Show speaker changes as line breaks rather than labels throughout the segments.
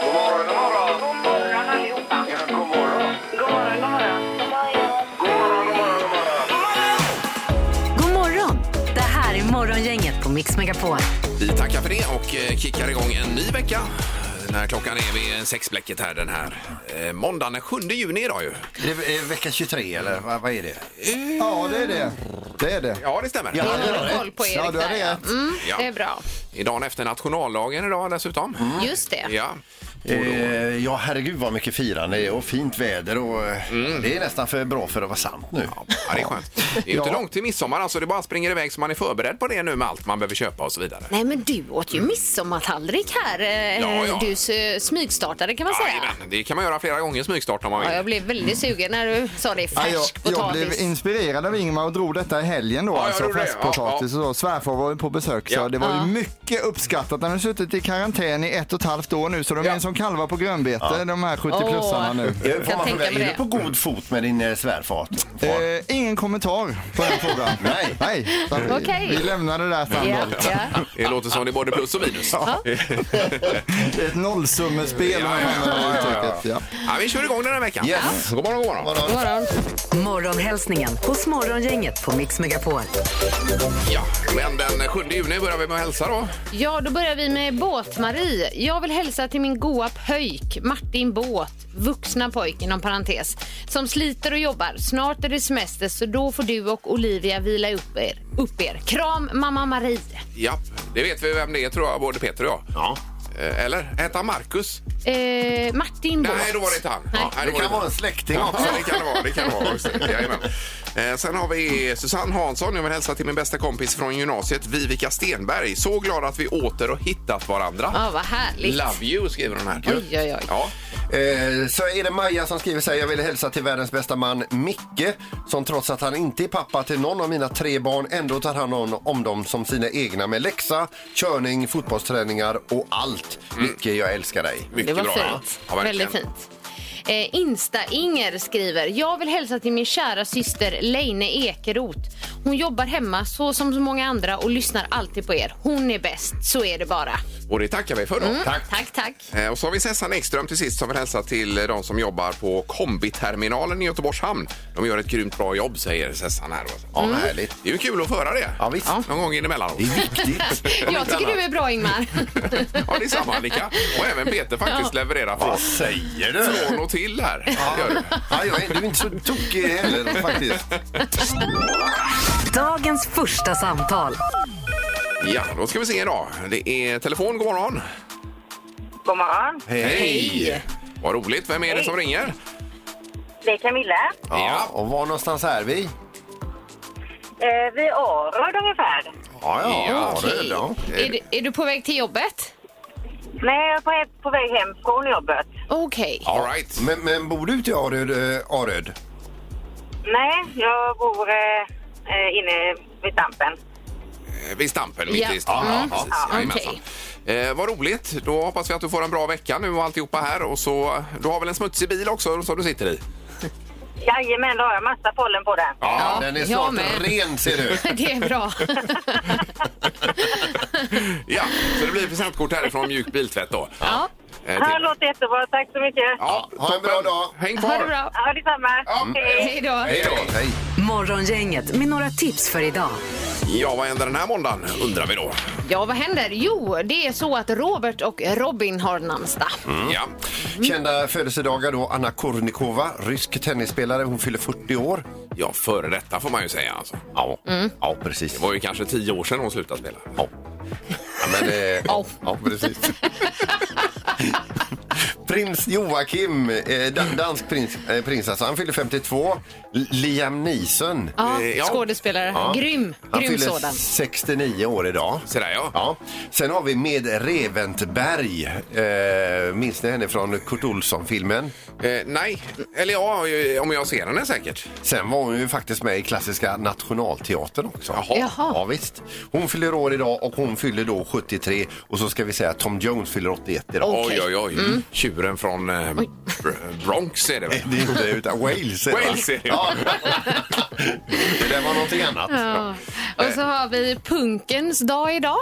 God morgon, god morgon.
God morgon allihopa.
Ja, god morgon.
God morgon, god morgon.
God morgon, god morgon, god morgon.
God morgon! Det här är Morgongänget på Mix Megapol.
Vi tackar för det och eh, kickar igång en ny vecka. När klockan är vid sexblecket här den här eh, måndagen den 7 juni idag ju.
Det är vecka 23 eller vad, vad är det?
Ja, det är det. Det är det.
Ja, det stämmer.
Ja.
Jag har koll på Erik
Ja, du har
där,
rätt.
ja. Mm,
Ja.
Det är bra.
Idag efter nationaldagen idag dessutom.
Just det.
Ja.
Eh, ja, herregud vad mycket firande det är och fint väder och eh,
Mm.
det är nästan för bra för att vara sant nu.
ja, det är skönt. Det är ju inte långt till midsommar alltså. Det bara springer iväg så man är förberedd på det nu med allt man behöver köpa och så vidare.
Nej men du åt ju midsommartallrik här. eh,
Ja, ja.
Du s- smygstartade kan man säga.
Jajamän, det kan man göra flera gånger smygstart om man vill.
Ja, jag blev väldigt sugen när du sa det.
Ja,
Färsk
jag, jag
potatis.
blev inspirerad av Ingmar och drog detta i helgen då,
jag
alltså
gjorde det.
färskpotatis och så. Svärfar var ju på besök
Ja.
så det var ju mycket uppskattat. Han har suttit i karantän i ett och ett halvt år nu så de
Ja.
är som kalvar på grönbete de här 70-plussarna
Åh.
nu.
Eh, Får
Jag
man
tänker
fråga,
mig
är
det.
du på god fot med din eh, svärfart? Far?
Eh, ingen kommentar på den frågan.
Nej.
Nej. Så vi-
Okej.
Vi lämnar det där
Ja,
Sandholt.
ja.
Det låter som det är både plus och minus. Ja.
Det är ett nollsummespel om man
Ja, ja,
använder det
ja, ja.
uttrycket. Ja.
vi kör igång den här veckan.
Yes.
God morgon, god morgon.
Vadå?
Morgonhälsningen hos Morgongänget på Mix Megapol.
Ja. Men den 7 juni börjar vi med att hälsa då.
ja, då börjar vi med Båt-Marie. Jag vill hälsa till min goa pöjk, Martin Båt. Vuxna pojk inom parentes. Som sliter och jobbar. Snart är det semester så då får du och Olivia vila upp er. Upp er. Kram mamma Marie.
Ja, det vet vi vem det är tror jag, både Peter och jag.
Ja.
Eh, Eller? Hette han Marcus?
Eh, Martin Båt.
Nej, då var det inte han.
Nej.
Ja, nej,
Det
då var
kan vara en
inte
släkting
han.
också.
Ja, det kan det vara. Det kan det vara också. Jajamän. Eh, Sen har vi Susanne Hansson. Jag vill hälsa till min bästa kompis från gymnasiet, Vivica Stenberg. Så glad att vi åter har hittat varandra.
Ja, vad härligt.
Love you, skriver hon här.
Oj, oj, oj.
Ja.
Eh, så är det Maja som skriver så här. Jag vill hälsa till världens bästa man Micke som trots att han inte är pappa till någon av mina tre barn ändå tar hand om, om dem som sina egna med läxa, körning, fotbollsträningar och allt.
Mm.
Micke, jag älskar dig.
Mycket
det var
bra.
fint.
Ja, verkligen.
Väldigt fint. Eh, Insta-Inger skriver, jag vill hälsa till min kära syster Leine Ekeroth. Hon jobbar hemma så som så många andra och lyssnar alltid på er. Hon är bäst, så är det bara.
Och det tackar vi för. Då.
Mm. Tack, tack.
Eh, Och så har vi Sessan Ekström till sist som vill hälsa till eh, de som jobbar på kombiterminalen i Göteborgs hamn. De gör ett grymt bra jobb, säger Sessan här.
Ja, vad härligt.
Det är ju kul att få höra det.
Mm. Ja, visst.
Någon gång emellanåt.
Det är viktigt.
Jag tycker du är bra Ingmar.
Ja, det är samma Annika. Och även Peter faktiskt levererar
Vad
från,
säger du?
från och till här. Gör du.
Ja, jag är, du är inte så tokig heller faktiskt.
Dagens första samtal.
Ja, då ska vi se idag. Det är telefon. God morgon.
God morgon.
Hej! Vad roligt. Vem är det som ringer?
Det är Camilla.
Ja, och var någonstans är vi?
Eh, vi är Arad ungefär.
Ja, ja, ja,
Okej.
det är det. ja.
är, du, är du på väg till jobbet?
Nej, jag är på, he- på väg hem från jobbet.
Okej.
All right.
Men, men bor du ute i Aröd? eh, Aröd?
Nej, jag bor eh, eh, inne vid Stampen.
Eh, Vid Stampen, mitt
Ja.
i stan.
Mm.
Ja, precis.
Ja,
Jajamensan. Eh, vad roligt. Då hoppas vi att du får en bra vecka nu och alltihopa här. Och så, du har väl en smutsig bil också som du sitter i?
Jajamän, då har jag massa pollen på den.
Ja,
Ja,
den är
jag
snart
med.
ren ser du.
Det är bra.
Ja, så det blir presentkort härifrån Mjuk Biltvätt då.
Ja.
Eh, till-
Ja, det låter jättebra. Tack så mycket.
Ja,
Ha en bra
toppen.
dag.
Häng kvar.
Ha det bra.
Ja, detsamma.
Hej då.
Hej då. Hej.
Morgongänget med några tips för idag.
Ja, vad händer den här måndagen undrar vi då.
Ja, vad händer? Jo, det är så att Robert och Robin har namnsdag.
Ja.
Mm. Kända födelsedagar då, Anna Kournikova, rysk tennisspelare, hon fyller 40 år.
ja, före detta får man ju säga alltså.
Ja, Mm. ja precis.
Det var ju kanske tio år sedan hon slutade spela.
Ja. Ja, men, eh, ja. precis. prins Joakim, eh, dan- dansk prins, eh, prins alltså, han fyller 52. L- Liam Neeson,
Ja,
Eh, ja.
skådespelare. Grym,
han
grym
fyller
sådan.
69 år idag.
Sådär ja.
Ja. Sen har vi med Reventberg. Eh, minns ni henne från Kurt Olsson-filmen?
Eh, nej, eller ja, eh, om jag ser henne säkert.
Sen var hon ju faktiskt med i klassiska Nationalteatern också.
Jaha.
Ja, visst. Hon fyller år idag och hon fyller då 73 och så ska vi säga att Tom Jones fyller 81 idag.
Oj, oj, oj. Tjuren från eh, Br- Bronx är det väl?
Det är inte utan Wales. är det, va?
Wales är det.
Ja. det där var någonting annat.
Eh.
Och så har vi punkens dag idag.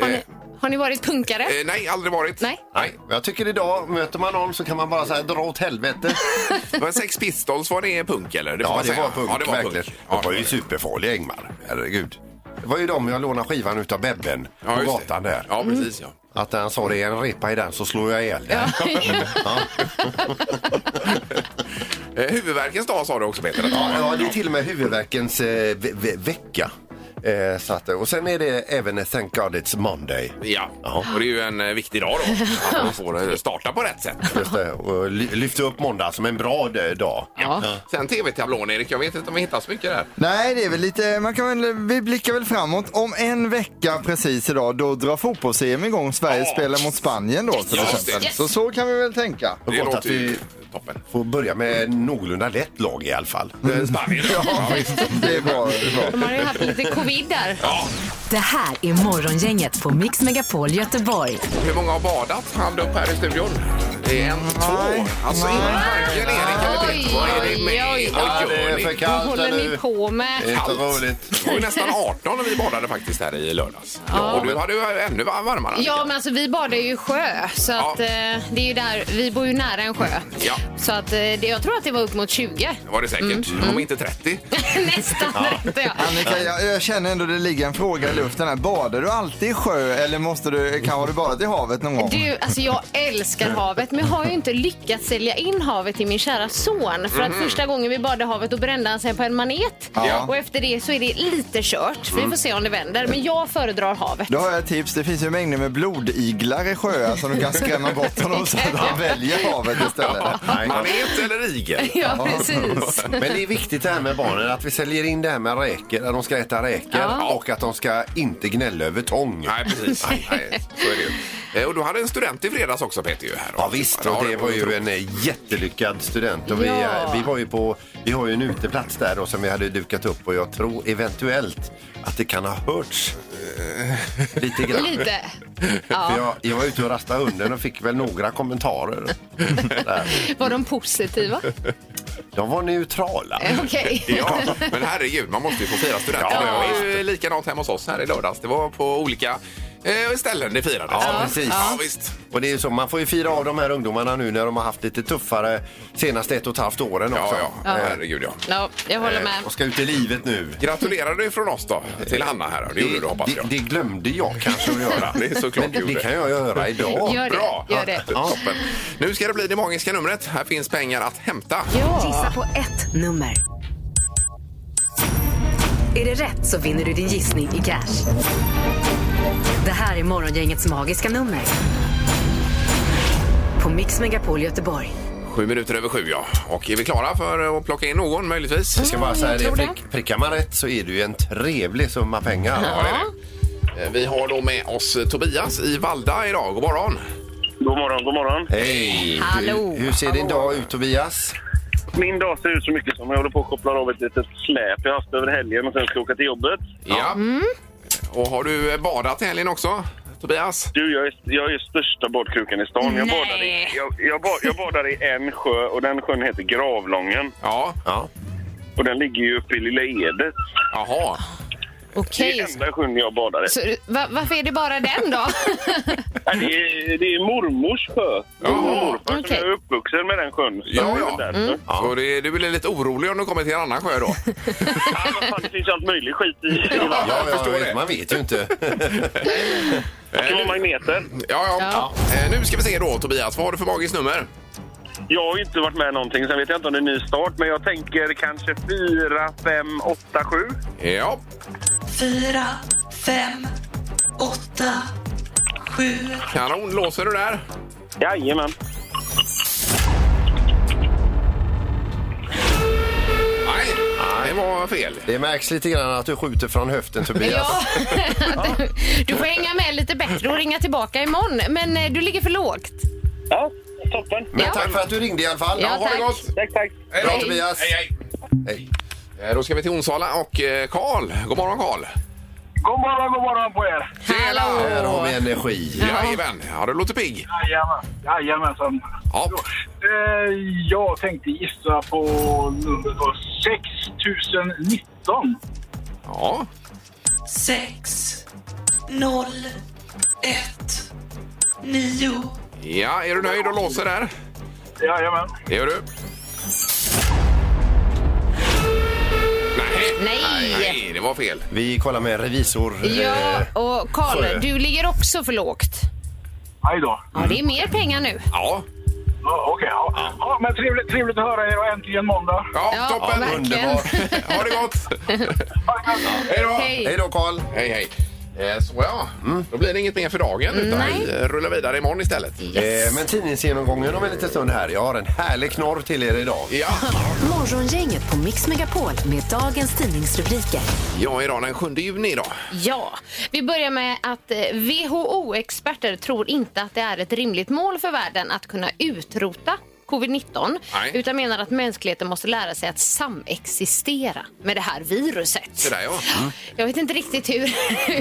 Har ni, Har ni varit punkare?
Mm. Eh, nej, aldrig varit.
Nej.
Nej, men jag tycker idag, möter man någon så kan man bara säga dra åt helvete.
Men Sex Pistols, var det punk eller? Det får
Ja,
man
det
säga.
var punk,
Ja, det var
verkligen.
punk.
Det var ju superfarliga Ingmar, herregud. Det var ju de jag lånade skivan utav Bebben
Ja,
på
just det.
gatan där.
Ja, precis ja.
Att han sa det är en repa i den så slår jag ihjäl den.
Eh, huvudvärkens dag sa du också Peter. att det var.
Ja, det är till och med huvudvärkens eh, ve ve vecka. Eh, så att, och sen är det även Thank God It's Monday.
Ja,
Ja.
och det är ju en eh, viktig dag då. Att man får eh, starta på rätt sätt.
Just det, och ly- lyfta upp måndag som en bra d- dag.
Ja.
Sen tv-tablån Erik, jag vet inte om vi hittar så mycket där.
Nej, det är väl lite, man kan väl, vi blickar väl framåt. Om en vecka precis idag, då drar fotbolls-EM igång. Sverige
Ja.
spelar mot Spanien då till
Just
exempel.
det.
Så så kan vi väl tänka.
Det
Gott att
låter ju
vi-
toppen.
Får börja med någorlunda lätt lag i alla fall.
Mm.
Eh, Spanien. Ja, visst.
Det är bra. Det är bra.
De har ju haft lite covid där.
Det här är Morgongänget på Mix Megapol Göteborg.
Hur många har badat? Hand upp här i studion. Det är en, två. Alltså
Nej.
inte varken Erik eller Peter.
Oj,
Vad är det med?
oj, oj.
Vad
Ja, det
gör
är för
ni?
Vad
kallt
håller
nu.
ni
eh,
på
Det är
med?
inte
Kallt.
roligt.
Det var ju nästan 18 när vi badade faktiskt här i lördags.
Ja.
Och du hade ju ännu varmare. Annika.
Ja, men alltså vi badar ju i sjö, så
Ja.
att, eh, det är ju där, vi bor ju nära en sjö.
Ja.
Så att, eh, det, jag tror att det var upp mot 20.
Det var det
Mm.
säkert. Om inte 30.
Nästan rätt ja.
Annika, jag, jag känner ändå det ligger en fråga i luften här. Badar du alltid i sjö eller måste du, kan, har du badat i havet någon gång?
Du, alltså jag älskar havet men jag har ju inte lyckats sälja in havet till min kära son. För att första gången vi badade i havet då brände han sig på en manet.
Ja.
Och efter det så är det lite kört. Vi får se om det vänder. Men jag föredrar havet.
Då har jag ett tips. Det finns ju mängder med blodiglar i sjöar som du kan skrämma bort honom så att han väljer havet istället.
Manet eller igel?
Ja, precis.
Men det är viktigt det här med barnen, att vi säljer in det här med räkor, att de ska äta räkor
Ja.
och att de ska inte gnälla över tång.
Nej, precis. Nej, nej, så är det ju. Eh, Och du hade en student i fredags också, Peter. Ju, här.
Ja visst, och det var ju en eh, jättelyckad student. Och vi,
Ja.
eh, vi, var ju på, vi har ju en uteplats där då, som vi hade dukat upp och jag tror eventuellt att det kan ha hörts eh, lite grann.
Lite.
För
Ja.
jag, jag var ute och rastade hunden och fick väl några kommentarer. Där.
Var de positiva? Eh,
De var neutrala.
Okej.
Ja, men herregud, man måste ju få fira studenten.
Ja,
det var ju likadant hemma hos oss här i lördags. Det var på olika eh, ställen det firades.
Ja, precis.
Ja, visst.
Och det är ju så, man får ju fira av de här ungdomarna nu när de har haft lite tuffare senaste ett och ett halvt åren också.
Ja, ja. Herregud, ja.
Ja, jag håller med.
Eh, Och ska ut i livet nu.
Gratulerar du från oss då till Hanna här? Det gjorde du hoppas
Eh, det,
jag.
det glömde jag kanske att göra.
Det är såklart
Men det,
du
det
gjorde.
kan jag göra idag.
Gör det.
Bra!
Gör det.
Ja, Toppen. Nu ska det bli det magiska numret. Här finns pengar att hämta.
Gissa på ett nummer. Är det rätt så vinner du din gissning i cash. Det här är Morgongängets magiska nummer. På Mix Megapol Göteborg.
Sju minuter över sju, ja. Och är vi klara för att plocka in någon möjligtvis?
Jag ska bara säga
jag tror
det,
det.
prick, prickar man rätt så är det ju en trevlig summa pengar.
Ja, det är det. Eh, Vi har då med oss Tobias i Valda idag. God morgon!
God morgon, god morgon.
Hej!
Hallå.
Hur, hur ser din dag ut Tobias?
Min dag ser ut så mycket som jag håller på att koppla av ett litet släp jag haft över helgen och sen ska jag åka till jobbet.
Ja.
Mm.
Och har du badat i helgen också, Tobias?
Du, jag är, jag är största badkrukan i stan. Jag
Nej.
badar, i, jag, jag, ba- jag badar i en sjö och den sjön heter Gravlången.
Ja.
Ja.
Och den ligger ju uppe i Lilla Edet.
Jaha.
Det är
Okej.
enda sjön jag badar i.
Så, va, varför är det bara den då?
Nej, Det är, det är mormors sjö. Mormor och morfar som
Okej.
jag är uppvuxen med den sjön. Så
Ja,
det är väl
ja.
därför.
Så det, du blir lite orolig om du kommer till en annan sjö då?
Ja, vad fan, det finns ju allt möjligt skit i. i vattnet.
Ja, jag
förstår
vet,
det.
Man vet ju inte.
Det kan vara magneter.
Eh, Ja, ja.
Ja.
Eh, Nu ska vi se då, Tobias. Vad har du för magiskt nummer?
Jag har ju inte varit med någonting, sen vet jag inte om det är ny start. Men jag tänker kanske 4, 5, 8, 7.
Ja.
fyra, fem, åtta, sju.
Kanon. Låser du där?
Jajamän.
Nej, det var fel.
Det märks lite grann att du skjuter från höften Tobias.
Ja. Du får hänga med lite bättre och ringa tillbaka imorgon. Men eh, du ligger för lågt.
Ja, toppen.
Men
Ja.
tack för att du ringde i alla fall.
Ja,
Ja, ha det
tack.
gott!
Tack, tack.
Hej
Bra
då,
Hej.
Tobias.
Tobias.
Hej, hej.
Hej.
Eh, Då ska vi till Onsala och eh, Karl. God morgon, Karl.
God morgon, god morgon på er.
Hallå!
Här har vi energi.
Jajamän. Ja, du låter pigg.
Jajamän, jajamensan.
Ja.
Eh, jag tänkte gissa på numret då, 6019.
Ja.
Sex, noll, ett, nio.
Ja, är du nöjd och låser där?
Jajamän.
Det gör du. Nej.
Nej.
Nej, det var fel.
Vi kollar med revisor.
Ja,
eh,
och Karl,
Sjö.
du ligger också för lågt.
Aj då.
Ja,
Mm.
det är mer pengar nu.
Ja,
Ja, Okej. ja. Ja, men trevligt, trevligt att höra er och äntligen måndag.
ja,
Ja,
toppen.
verkligen.
Underbart.
ha det gott! Hej då!
Hej.
Hej då Karl.
Hej, hej. Eh, Så ja, då blir det inget mer för dagen utan
Nej.
vi eh, rullar vidare imorgon istället.
Eh, men tidningsgenomgången om en liten stund här. Jag har en härlig knorr till er idag.
Ja.
Morgongänget på Mix Megapol med dagens tidningsrubriker.
ja, idag den 7 juni idag.
Ja, vi börjar med att eh, WHO-experter tror inte att det är ett rimligt mål för världen att kunna utrota covid-19
Nej.
utan menar att mänskligheten måste lära sig att samexistera med det här viruset.
Det där, ja.
Jag vet inte riktigt hur,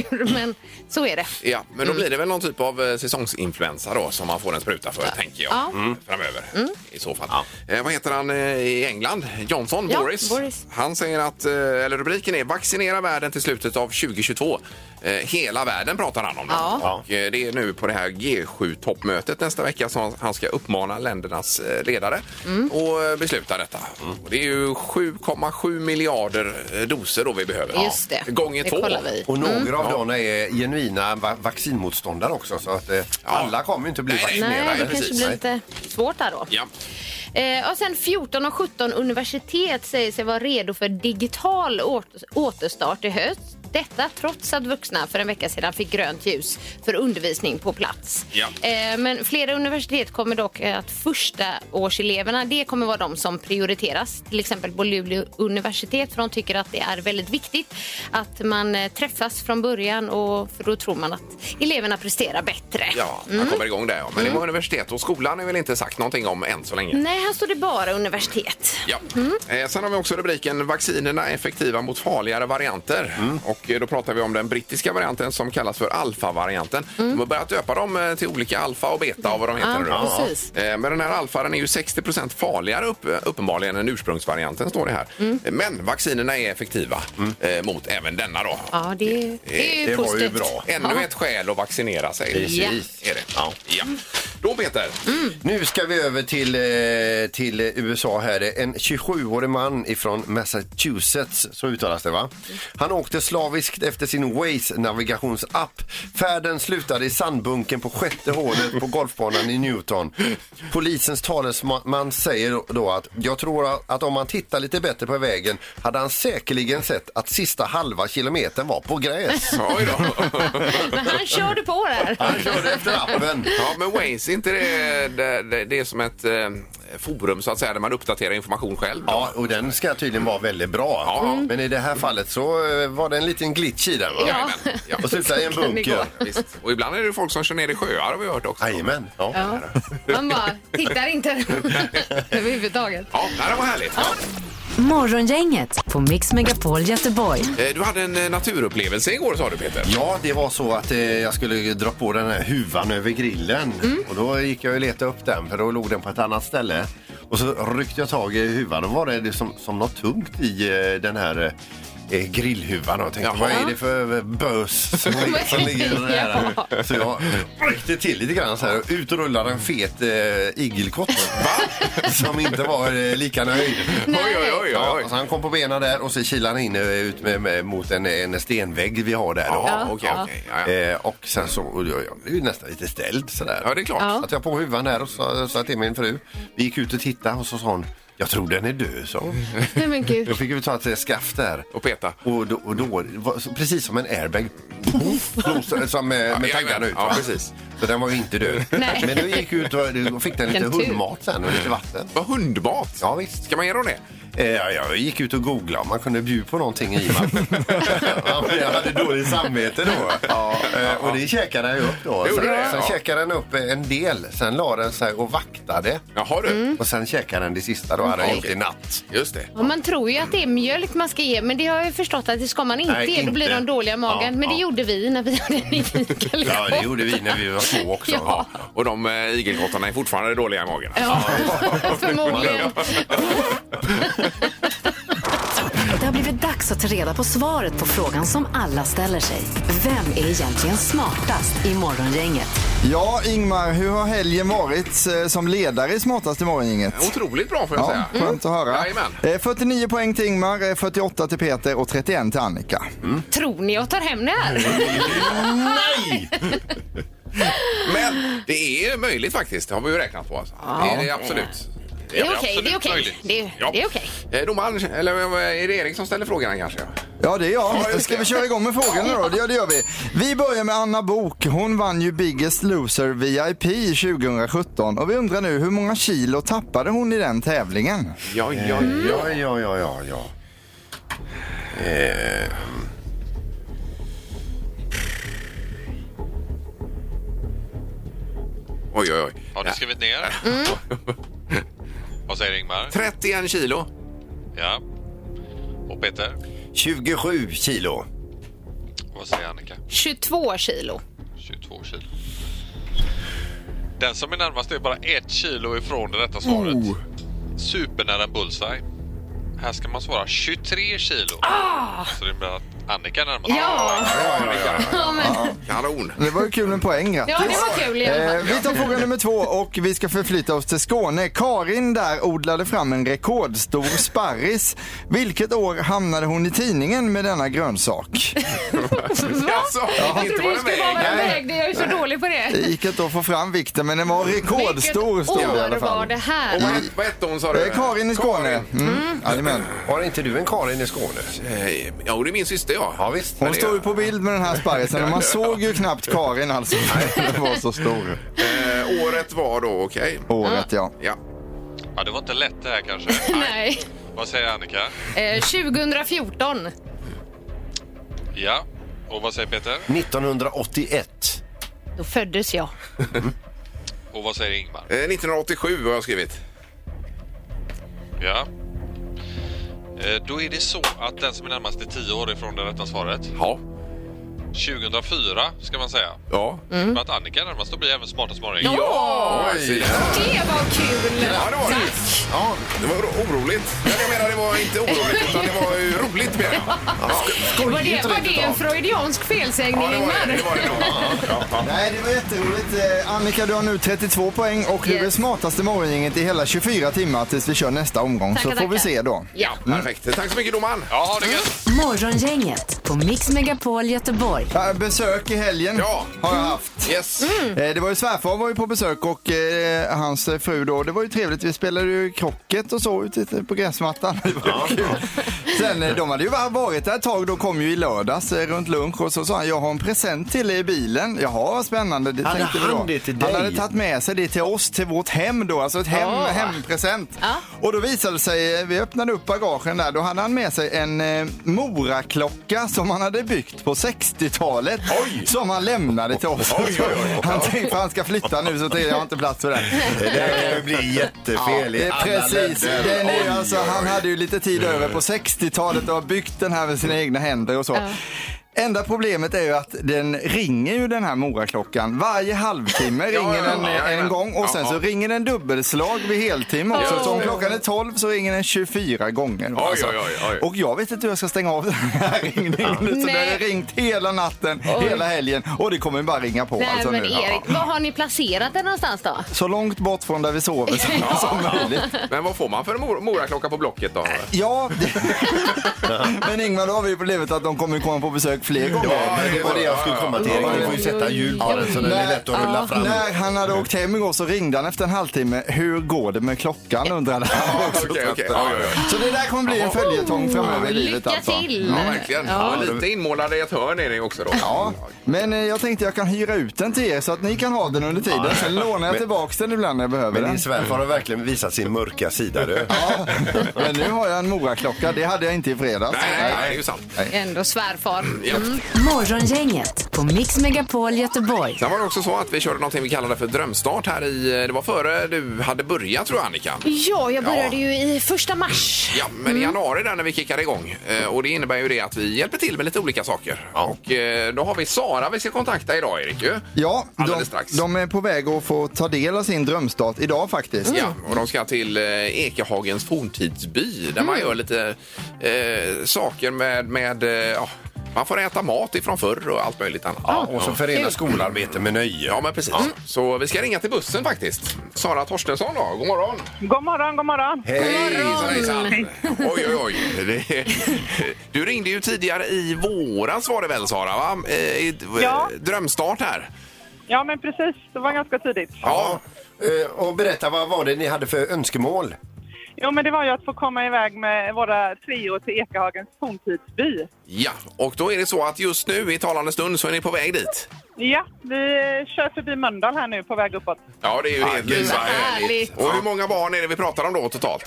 hur, men så är det.
Ja, men
Mm.
då blir det väl någon typ av eh, säsongsinfluensa då som man får en spruta för, tänker jag.
Ja.
Mm. Framöver i så fall. Eh, vad heter han eh, i England? Johnson?
Ja,
Boris?
Boris.
Han säger att, eh, eller rubriken är Vaccinera världen till slutet av 2022. Eh, hela världen pratar han om. nu.
Ja.
Och, eh, det är nu på det här G7-toppmötet nästa vecka som han- han ska uppmana ländernas eh, ledare
Mm.
och eh, besluta detta. Och det är ju 7,7 miljarder eh, doser då vi behöver.
Just det.
Gånger
det
två.
kollar vi.
Och några av dem är genuina va- vaccinmotståndare också så att eh, alla kommer ju inte bli
Nej, nej,
vaccinerade.
Nej, det
precis.
kanske blir lite svårt där då.
Ja.
Eh, och sen 14 och 17 universitet säger sig vara redo för digital åter- återstart i höst. Detta trots att vuxna för en vecka sedan fick grönt ljus för undervisning på plats.
Ja.
Eh, men flera universitet kommer dock eh, att första årseleverna, det kommer vara de som prioriteras. Till exempel på Luleå universitet, för de tycker att det är väldigt viktigt att man eh, träffas från början och för då tror man att eleverna presterar bättre.
Ja,
Mm.
han kommer igång där. Ja. Men det var universitet och skolan är väl inte sagt någonting om än så länge.
Nej, här står det bara universitet.
Ja.
Mm.
Eh, sen har vi också rubriken Vaccinerna effektiva mot farligare varianter. Och eh, då pratar vi om den brittiska varianten som kallas för alfa-varianten. De har börjat döpa dem eh, till olika alfa och beta och vad de heter
Mm. Ja,
nu. då.
precis.
Eh, Men den här alfa den är ju 60 farligare upp, eh, uppenbarligen än ursprungsvarianten står det här.
Mm.
Eh, Men vaccinerna är effektiva eh, mot även denna då.
Ja, det, det är
Det var ju
positivt.
bra.
Ännu ett skäl att vaccinera sig.
Precis.
Är det. Ja. Då Peter.
Mm.
Nu ska vi över till, eh, till eh, USA här. Det är En 27-årig man ifrån Massachusetts, så uttalas det va? Han åkte slaviskt efter sin Waze-navigationsapp. Färden slutade i sandbunken på sjätte hålet på golfbanan i Newton. Polisens talesman säger då att jag tror att om man tittar lite bättre på vägen hade han säkerligen sett att sista halva kilometern var på gräs.
Oj då.
Men han körde på där.
Han körde efter appen.
Ja, men Waze, inte det, det, det, det är som ett eh, forum så att säga där man uppdaterar information själv? då?
Ja, och den ska tydligen vara väldigt bra.
Ja. Mm.
Men i det här fallet så eh, var det en liten glitch i den. Va?
Ja. Ja.
Och slutade i en
Så kan det
bunker.
Visst. Och ibland är det folk som kör ner i sjöar har vi hört också.
Jajamän. Ja.
Ja. Man bara tittar inte överhuvudtaget.
Ja, nej, det var härligt.
Morgongänget på Mix Megapol Göteborg.
Eh, Du hade en eh, naturupplevelse igår sa du Peter.
Ja, det var så att eh, jag skulle dra på den här huvan över grillen. Och då gick jag och letade upp den för då låg den på ett annat ställe. Och så ryckte jag tag i huvan och var det liksom, som något tungt i eh, den här eh, grillhuvan. Och jag tänkte,
Jaha.
vad är det för eh, bös som, som ligger där?
Ja.
Så jag ryckte till lite grann så här och utrullade en fet eh, igelkott. Som inte var eh, lika nöjd.
Oj, oj, oj. oj.
Ja, så han kom på benen där och så kilade han in eh, ut med, med, mot en, en stenvägg vi har där. Då.
Jaha, okej, okej. Ja, ja.
Eh, och sen så, och jag, jag blev ju nästan lite ställd sådär.
Ja, det är klart.
Ja.
Så att jag på huvan där och sa, sa till min fru. Vi gick ut och tittade och så sa hon, jag tror den är död, så.
Nej men gud.
Då fick vi ta ett eh, skaft där.
Och peta.
Och då, och då var, så, precis som en airbag, Poff! blåste- som eh, med,
jajamän.
med taggarna ut.
Ja,
va?
precis.
Så den var ju inte död.
Nej.
Men då gick ut och, och fick den lite
Vilken tur.
hundmat sen och lite vatten.
Vad hundmat.
Ja, visst.
Ska man ge dem det?
Eh, ja, jag gick ut och googlade om man kunde bjuda på någonting i vatten. ja, men jag hade dåligt samvete då. eh, och det käkade jag upp då.
Det gjorde
Sen,
det,
sen
ja.
käkade den upp en del, sen la den sig och vaktade.
Jaha du.
Mm.
Och sen käkade den det sista då, hade jag
Okej.
gjort i natt.
Just det.
Och man tror ju att det är mjölk man ska ge, men det har jag ju förstått att det ska man inte
Nej,
ge. Då blir
inte.
de dåliga i magen.
Ja,
men det
ja.
gjorde vi när vi hade en igelkott.
Ja, det gjorde vi när vi var små också.
Ja.
Och de eh, igelkottarna är fortfarande dåliga i magen.
Ja, förmodligen.
Det har blivit dags dags att ta reda på svaret på frågan som alla ställer sig. Vem är egentligen smartast i Morgongänget?
Ja, Ingmar, hur har helgen varit eh, som ledare i Smartaste morgongänget?
Otroligt bra får jag
Ja,
säga. Mm.
skönt att höra.
Jajamän.
Eh, 49 poäng till Ingmar, eh, 48 till Peter och 31 till Annika.
Tror ni jag tar hem det här?
Nej! Men det är möjligt faktiskt. Det har vi ju räknat på. Alltså. Det är det absolut.
Det är okej, det är okej.
möjligt.
Det är-
Ja.
det är okej.
Eh, Domaren, eller eh, är det Erik som ställer frågan kanske?
Ja, det är
just det.
jag. Ska vi köra igång med frågorna då? Ja, det gör vi. Vi börjar med Anna Bok. Hon vann ju Biggest Loser VIP 2017 och vi undrar nu hur många kilo tappade hon i den tävlingen?
Ja, ja,
Mm.
ja.
Ja, ja, ja, ja, ja.
Eh, Oj, oj, oj.
Har du skrivit ner? Vad säger Ingmar?
31 Eh, kilo.
Ja. Och Peter?
27 kilo.
Vad säger Annika?
22 kilo.
22 kilo. Den som är närmast är bara ett kilo ifrån det rätta svaret.
Mm.
Supernära bullseye. Här ska man svara 23 kilo. Så det blir att Annika är närmast.
Ja, ja, men,
Kanon.
Det var ju kul med poäng, grattis.
ja det var kul i alla fall.
Eh, vi tar fråga nummer två och vi ska förflytta oss till Skåne. Karin där odlade fram en rekordstor sparris. Vilket år hamnade hon i tidningen med denna grönsak?
Alltså,
Jag
inte
trodde det
var det
skulle vara
väg.
en väg, det- jag är så dålig på
Det
det.
gick inte att få fram vikten men den var rekordstor stod
Vilket
det i alla
år
fall.
var det
Och vad
här?
hette- Vad hette hon sa du?
Eh, Karin i Skåne. Mm. Jajamän.
Har inte du en Karin i Skåne?
Eh, Ja, och det är min syster ja.
Ja, visst.
Men
Hon
det-
står ju på bild med den här sparrisen och man såg ju knappt Karin alltså. Den var så stor.
Eh, året var då, okej.
Året ja.
Ja.
Ja, det var inte lätt det här kanske.
Nej.
Vad säger Annika?
Eh, 2014.
Ja. Och vad säger Peter?
1981.
Då föddes jag.
Och vad säger Ingmar?
Eh, 1987 har jag skrivit.
Ja. Eh, Då är det så att den som är närmast är 10 år ifrån det rätta svaret.
Ja.
2004 ska man säga.
Ja.
För att Annika är närmast, då blir även smartast morgon.
Ja!
Oj.
Det var kul!
Ja, det var det. Ja, det var ro- oroligt. Men jag menar, det var inte oroligt, utan det var ju roligt menar
Var
jag.
det, var det en freudiansk felsägning,
Ja, det var det.
Ingmar?
det, var det nog. Ja, ja.
Nej, det var jätteroligt. Eh, Annika, du har nu 32 poäng och du är
Yes.
smartaste morgongänget i hela 24 timmar tills vi kör nästa omgång.
Tackar,
så får vi
tackar.
se då.
Ja.
Mm.
Perfekt. Tack så mycket domaren.
Ja, ha det gött!
Morgongänget på Mix Megapol Göteborg.
Ja, Besök i helgen
Ja.
har jag haft.
Yes.
Mm.
Mm.
Eh, Det var ju svärfar var ju på besök och eh, hans eh, fru då. Det var ju trevligt. Vi spelade ju krocket och så ute på gräsmattan. Det var ju kul. Sen eh, de hade ju va- varit där ett tag. De kom ju i lördags eh, runt lunch och så sa han jag har en present till er i bilen. Jaha, vad spännande. Det
Hade
tänkte vi då.
han det till
Han
dig?
hade tagit med sig det till oss, till vårt hem då. Alltså ett hem, hempresent. Och då visade det sig, eh, vi öppnade upp bagagen där, då hade han med sig en eh, Mora-klocka som han hade byggt på 60-talet. Som han lämnade till oss. Han tänkte att han ska flytta nu så tänkte jag, jag har inte plats för den.
Det där blir jättefel
Det är precis. Den är, ju alltså, han hade ju lite tid över
Eh.
på 60-talet och har byggt den här med sina egna händer och så. Enda problemet är ju att den ringer ju den här Moraklockan. Varje halvtimme ringer den
ja, ja, ja.
en gång och sen
Ja,
så
ja.
ringer den dubbelslag vid heltimme också.
Just
Så om
det.
klockan är 12 så ringer den 24 gånger. Alltså,
Oj, oj, oj, oj.
Och jag vet inte hur jag ska stänga av den här ringningen. Så den
Nej.
har ringt hela natten, hela helgen och det kommer ju bara ringa på.
Nej,
alltså
men
nu. Ja.
Erik, var har ni placerat den någonstans då?
Så långt bort från där vi sover som, som möjligt.
Men vad får man för en mor- moraklocka på Blocket då?
Ja, det... men Ingmar, då har vi ju problemet att de kommer ju komma på besök fler gånger.
Det var det jag skulle komma till. Erik. Du får ju sätta hjul på den så den är lätt att rulla fram.
När han hade åkt hem igår så ringde han efter en halvtimme. Hur går det med klockan undrade han också.
Okej, okej. Ja, ja, ja.
Så det där kommer bli en följetong framöver i livet
Lycka
alltså.
till!
ja, verkligen. Ja. Lite inmålade i ett hörn är ni också då.
Ja, men eh, jag tänkte jag kan hyra ut den till er så att ni kan ha den under tiden. Sen lånar jag tillbaks den ibland när jag behöver
Men
den.
din svärfar har verkligen visat sin mörka sida du.
Ja, men nu har jag en Moraklocka. Det hade jag inte i fredags.
Nej, nej, nej, det är ju sant.
Ändå svärfar.
Morgongänget på Mix Megapol Göteborg.
Sen var det också så att vi körde någonting vi kallade för drömstart här i... eh, Det var före du hade börjat tror jag Annika.
Ja, jag började
Ja.
ju i första mars.
Ja, men i januari där när vi kickade igång. Eh, Och det innebär ju det att vi hjälper till med lite olika saker. Och eh, då har vi Sara vi ska kontakta idag Erik ju.
Ja,
Alldeles
de,
strax.
de är på väg att få ta del av sin drömstart idag faktiskt.
Ja,
Mm.
och de ska till eh, Ekehagens forntidsby där
Mm.
man gör lite eh, saker med, med eh, ja, man får äta mat ifrån förr och allt möjligt annat.
Ja, Ah, och så förena skolarbete med nöje.
Ja, men precis. Så vi ska ringa till bussen faktiskt. Sara Torstensson då, god morgon.
God morgon, god morgon.
Hej, hejsan, hejsan. Oj, oj, oj. Det- Du ringde ju tidigare i våras var det väl Sara? Va? Eh, I,
Ja.
Drömstart här.
Ja, men precis. Det var ganska tidigt.
Ja.
Eh, Och berätta, vad var det ni hade för önskemål?
Jo, men det var ju att få komma iväg med våra treor till Ekahagens forntidsby.
Ja, och då är det så att just nu i talande stund så är ni på väg dit.
Ja, vi eh, kör förbi Mölndal här nu på väg uppåt.
Ja, det är ju helt
gud,
gud,
vad härligt.
Och hur många barn är det vi pratar om då totalt?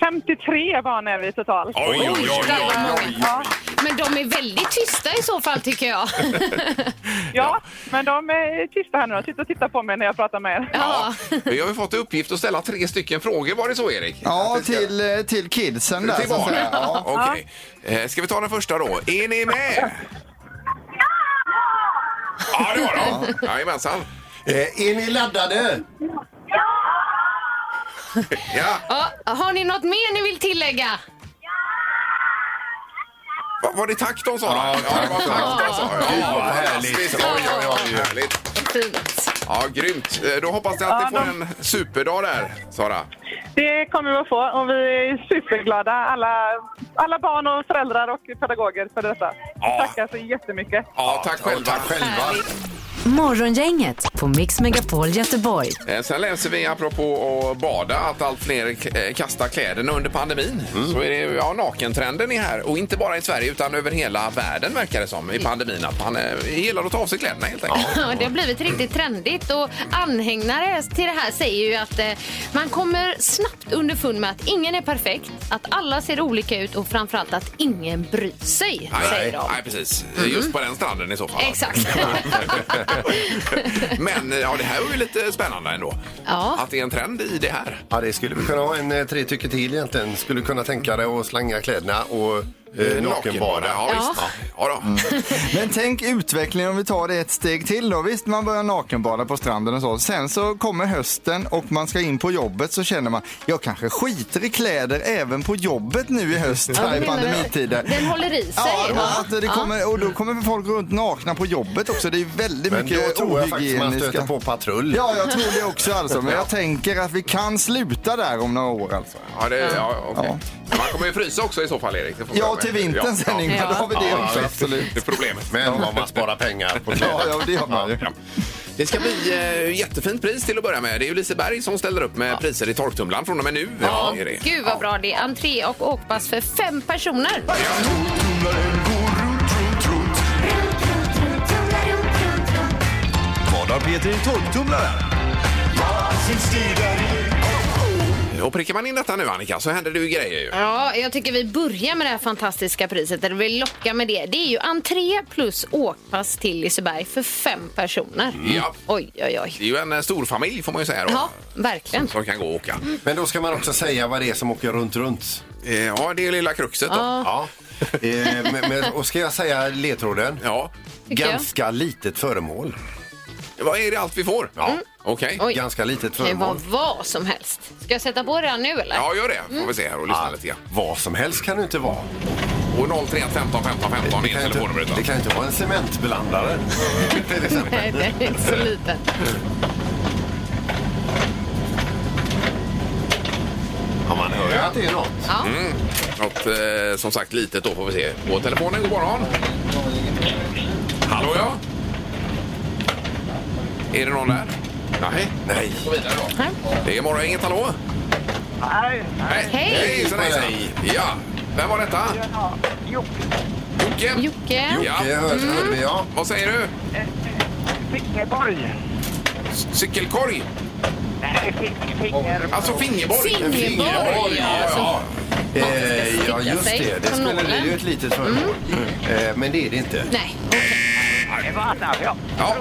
53 barn är vi totalt.
Oj, oj, oj, oj, oj.
Ja,
Men de är väldigt tysta i så fall tycker jag.
ja, men de är tysta här nu. De sitter och tittar på mig när jag pratar med er.
Ja.
Vi har ju fått i uppgift att ställa tre stycken frågor, var det så Erik?
Ja, till, eh, till kidsen där.
Till
så att
barnen?
säga. Ja.
Okej. Eh, Ska vi ta den första då? Är ni med? Ja, det var de. Jajamensan.
Eh, Är ni laddade?
Ja.
Ja, har ni något mer ni vill tillägga?
Va- Var det tack de sa? Ja, ja det var tack de sa. Ja,
Gud, vad
fantastiskt.
härligt.
Oj, oj, oj. Härligt.
Fint.
Ja, grymt. Eh, Då hoppas jag att ni får en superdag där, Sara.
Det kommer vi att få och vi är superglada, alla, alla barn och föräldrar och pedagoger för detta.
Ja.
Tackar så jättemycket.
Ja, tack själva.
Tack själva.
Morgongänget på Mix Megapol Göteborg.
Eh, Sen läser vi apropå att bada att allt fler k- eh, kastar kläderna under pandemin. Så är det, ja, nakentrenden är här och inte bara i Sverige utan över hela världen verkar det som i pandemin att man eh, gillar att ta av sig kläderna helt enkelt.
Ja, det har blivit riktigt trendigt och anhängare till det här säger ju att eh, man kommer snabbt underfund med att ingen är perfekt, att alla ser olika ut och framförallt att ingen bryr sig, säger
Nej,
de.
nej, precis. Eh, Just på den stranden i så fall.
Exakt.
Men eh, ja, det här är ju lite spännande ändå.
Ja.
Att det är en trend i det här.
Ja, det skulle vi kunna ha en eh, tre tycker till egentligen. Skulle kunna tänka dig att slänga kläderna och eh, nakenbada.
Ja, visst. Ja. Ja, då.
Men tänk utvecklingen om vi tar det ett steg till då. Visst, man börjar nakenbada på stranden och så. Sen så kommer hösten och man ska in på jobbet så känner man, jag kanske skiter i kläder även på jobbet nu i höst här
menar
i
du?
pandemitider.
Den håller i sig.
Ja, då,
Ja.
att det kommer, och då kommer folk runt nakna på jobbet också. Det är väldigt
Men då
mycket
tror jag faktiskt man
ohygieniska...
stöter på patrull.
Ja, jag tror det också alltså. Men
Ja.
jag tänker att vi kan sluta där om några år alltså.
Ja, det, ja, okej. Men Man kommer ju frysa också i så fall, Erik. Det får vi
Ja,
ta
till
med.
vintern sen Ingmar, då har vi det också.
visst.
absolut.
Det är problemet.
Men vad man sparar pengar på
Ja,
kläder.
ja, det har man ju.
Det ska bli eh, jättefint pris till att börja med. Det är ju Liseberg som ställer upp med priser i torktumlaren från och med nu. Ja. Är det.
Gud vad bra det är. Entré och åkpass för fem personer.
Vad har Peter i torktumlaren?
Och prickar man in detta nu, Annika, så händer det ju grejer. Ju.
Ja, jag tycker vi börjar med det här fantastiska priset. Eller vi lockar med det. Det är ju entré plus åkpass till Liseberg för fem personer.
Ja.
Oj, oj, oj.
Det är ju en eh, stor familj får man ju säga då.
Ja, verkligen.
Som kan gå och åka.
Men då ska man också säga vad det är som åker runt runt.
Eh, Ja, det är lilla kruxet då.
Ja. Eh, men, men, och ska jag säga ledtråden?
Ja.
Tycker jag.
Ganska litet föremål.
Vad är det allt vi får? Ja. Okej.
Oj.
Ganska litet
Det var
föremål.
vad som helst. Ska jag sätta på redan nu eller?
Ja, gör det. Får vi se här och lyssna lite grann.
Vad som helst kan det inte vara.
Och 03 15 15 15 är
kan inte,
telefonnumret.
det kan inte vara en cementblandare. Till exempel.
Nej, det är så liten.
Ja, man hör ju att det är något.
Mm. Något eh, som sagt litet då får vi se. På telefonen, god morgon. Hallå ja. Är det någon där? Nej.
Nej.
Gå vidare då. Det är morgon, inget hallå?
Nej,
Nej.
Hej.
Hejsan, hejsan. Ja. Vem var detta?
ja. Jo,
Jocke?
Jocke.
Ja.
Det hör, hörde vi, ja.
Vad säger du?
Frickeborg.
Cykelkorg? Alltså fingerborg.
Fingerborg, ja,
ja. Eh, ja, just
sig
det. Det
på
skulle det
nålen.
är ju ett litet företag. Eh, men det är det inte.
Nej.
Det var alla. Ja.
Ja.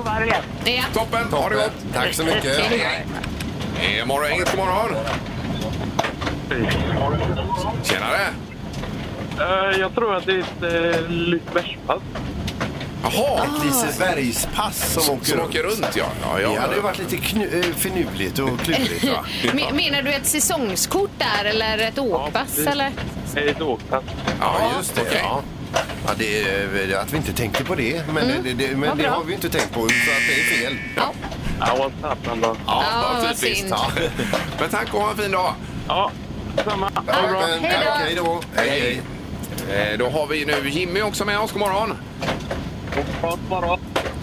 Ja.
Toppen, ha det gott.
Tack så mycket.
Hej, hej. Eh, Morgon, inget god morgon. Tjenare.
Eh, Jag tror att det är ett eh, Lisebergspass.
Jaha.
Ah.
Ett Lisebergspass som åker
Som
runt.
åker runt, ja. ja,
Det
ja.
hade ju varit lite knu- eh, finurligt och klurigt va?
Men- Menar du ett säsongskort där eller ett åkpass? eller?
Ett åkpass.
Ja, just det. Ja. Ja, det är, att vi inte tänkte på det, men, det, det,
Mm. Vad
men det
bra.
har vi ju inte tänkt på, så att det är fel.
Ja.
Ja, vad satan då.
Ja,
Ja,
vad
vad
typiskt.
synd.
Ja. Men tack och ha en fin dag.
Ja, samma.
Ja,
bra.
men,
Hej då.
tack, Hej då. Hej, hej.
Eh, Då har vi nu Jimmy också med oss. God morgon.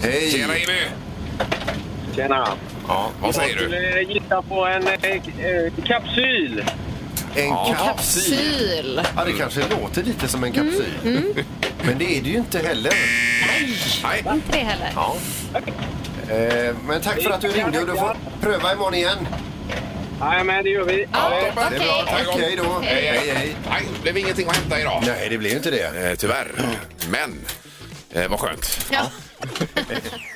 Hej.
Tjena Jimmy.
Tjena.
Ja, vad säger
Jag
du?
skulle gissa på en eh, eh, kapsyl.
En
Ja.
kapsyl.
Syl.
Ja, det kanske låter lite som en
Mm,
kapsyl. Men det är det ju inte heller.
Nej.
Inte det heller.
Ja. Eh, Men tack för att du ringde och du får pröva imorgon igen.
Nej, men det gör vi.
Ja,
Toppen.
Det är bra. Tack, hej då.
Hej.
Hej, hej.
Nej, det blev ingenting att hämta idag.
Nej, det blir ju inte det.
Eh, Tyvärr. Men eh, vad skönt.
Ja.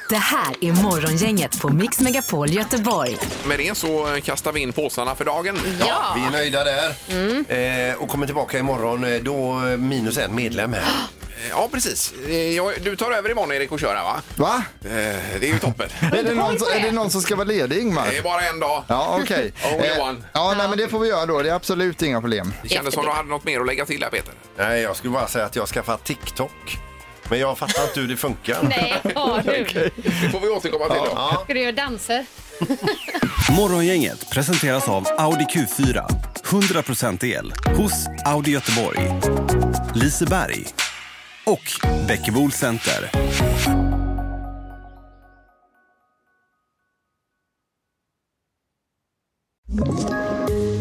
Det här är Morgongänget på Mix Megapol Göteborg.
Med det så eh, kastar vi in påsarna för dagen.
Ja.
Vi är nöjda där. Eh, Och kommer tillbaka imorgon, eh, då eh, minus en medlem här.
Eh, Ja, precis. Eh, jag- Du tar över imorgon Erik och kör här va?
Va?
Eh, Det är ju toppen.
Är det, någon, som- är det någon som ska vara ledig, Ingmar?
Det är bara en dag.
Ja, okej.
Only
Eh,
one.
ja, nej, men det får vi göra då. Det är absolut inga problem.
Det kändes som du hade något mer att lägga till här Peter.
Nej, jag skulle bara säga att jag skaffat TikTok. Men jag fattar inte hur det funkar.
Nej, har du?
Det får vi återkomma till då.
Ja.
Ska du göra danser?
Morgongänget presenteras av Audi Q4. 100% el hos Audi Göteborg, Liseberg och Bäckebol Center.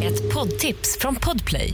Ett poddtips från Podplay.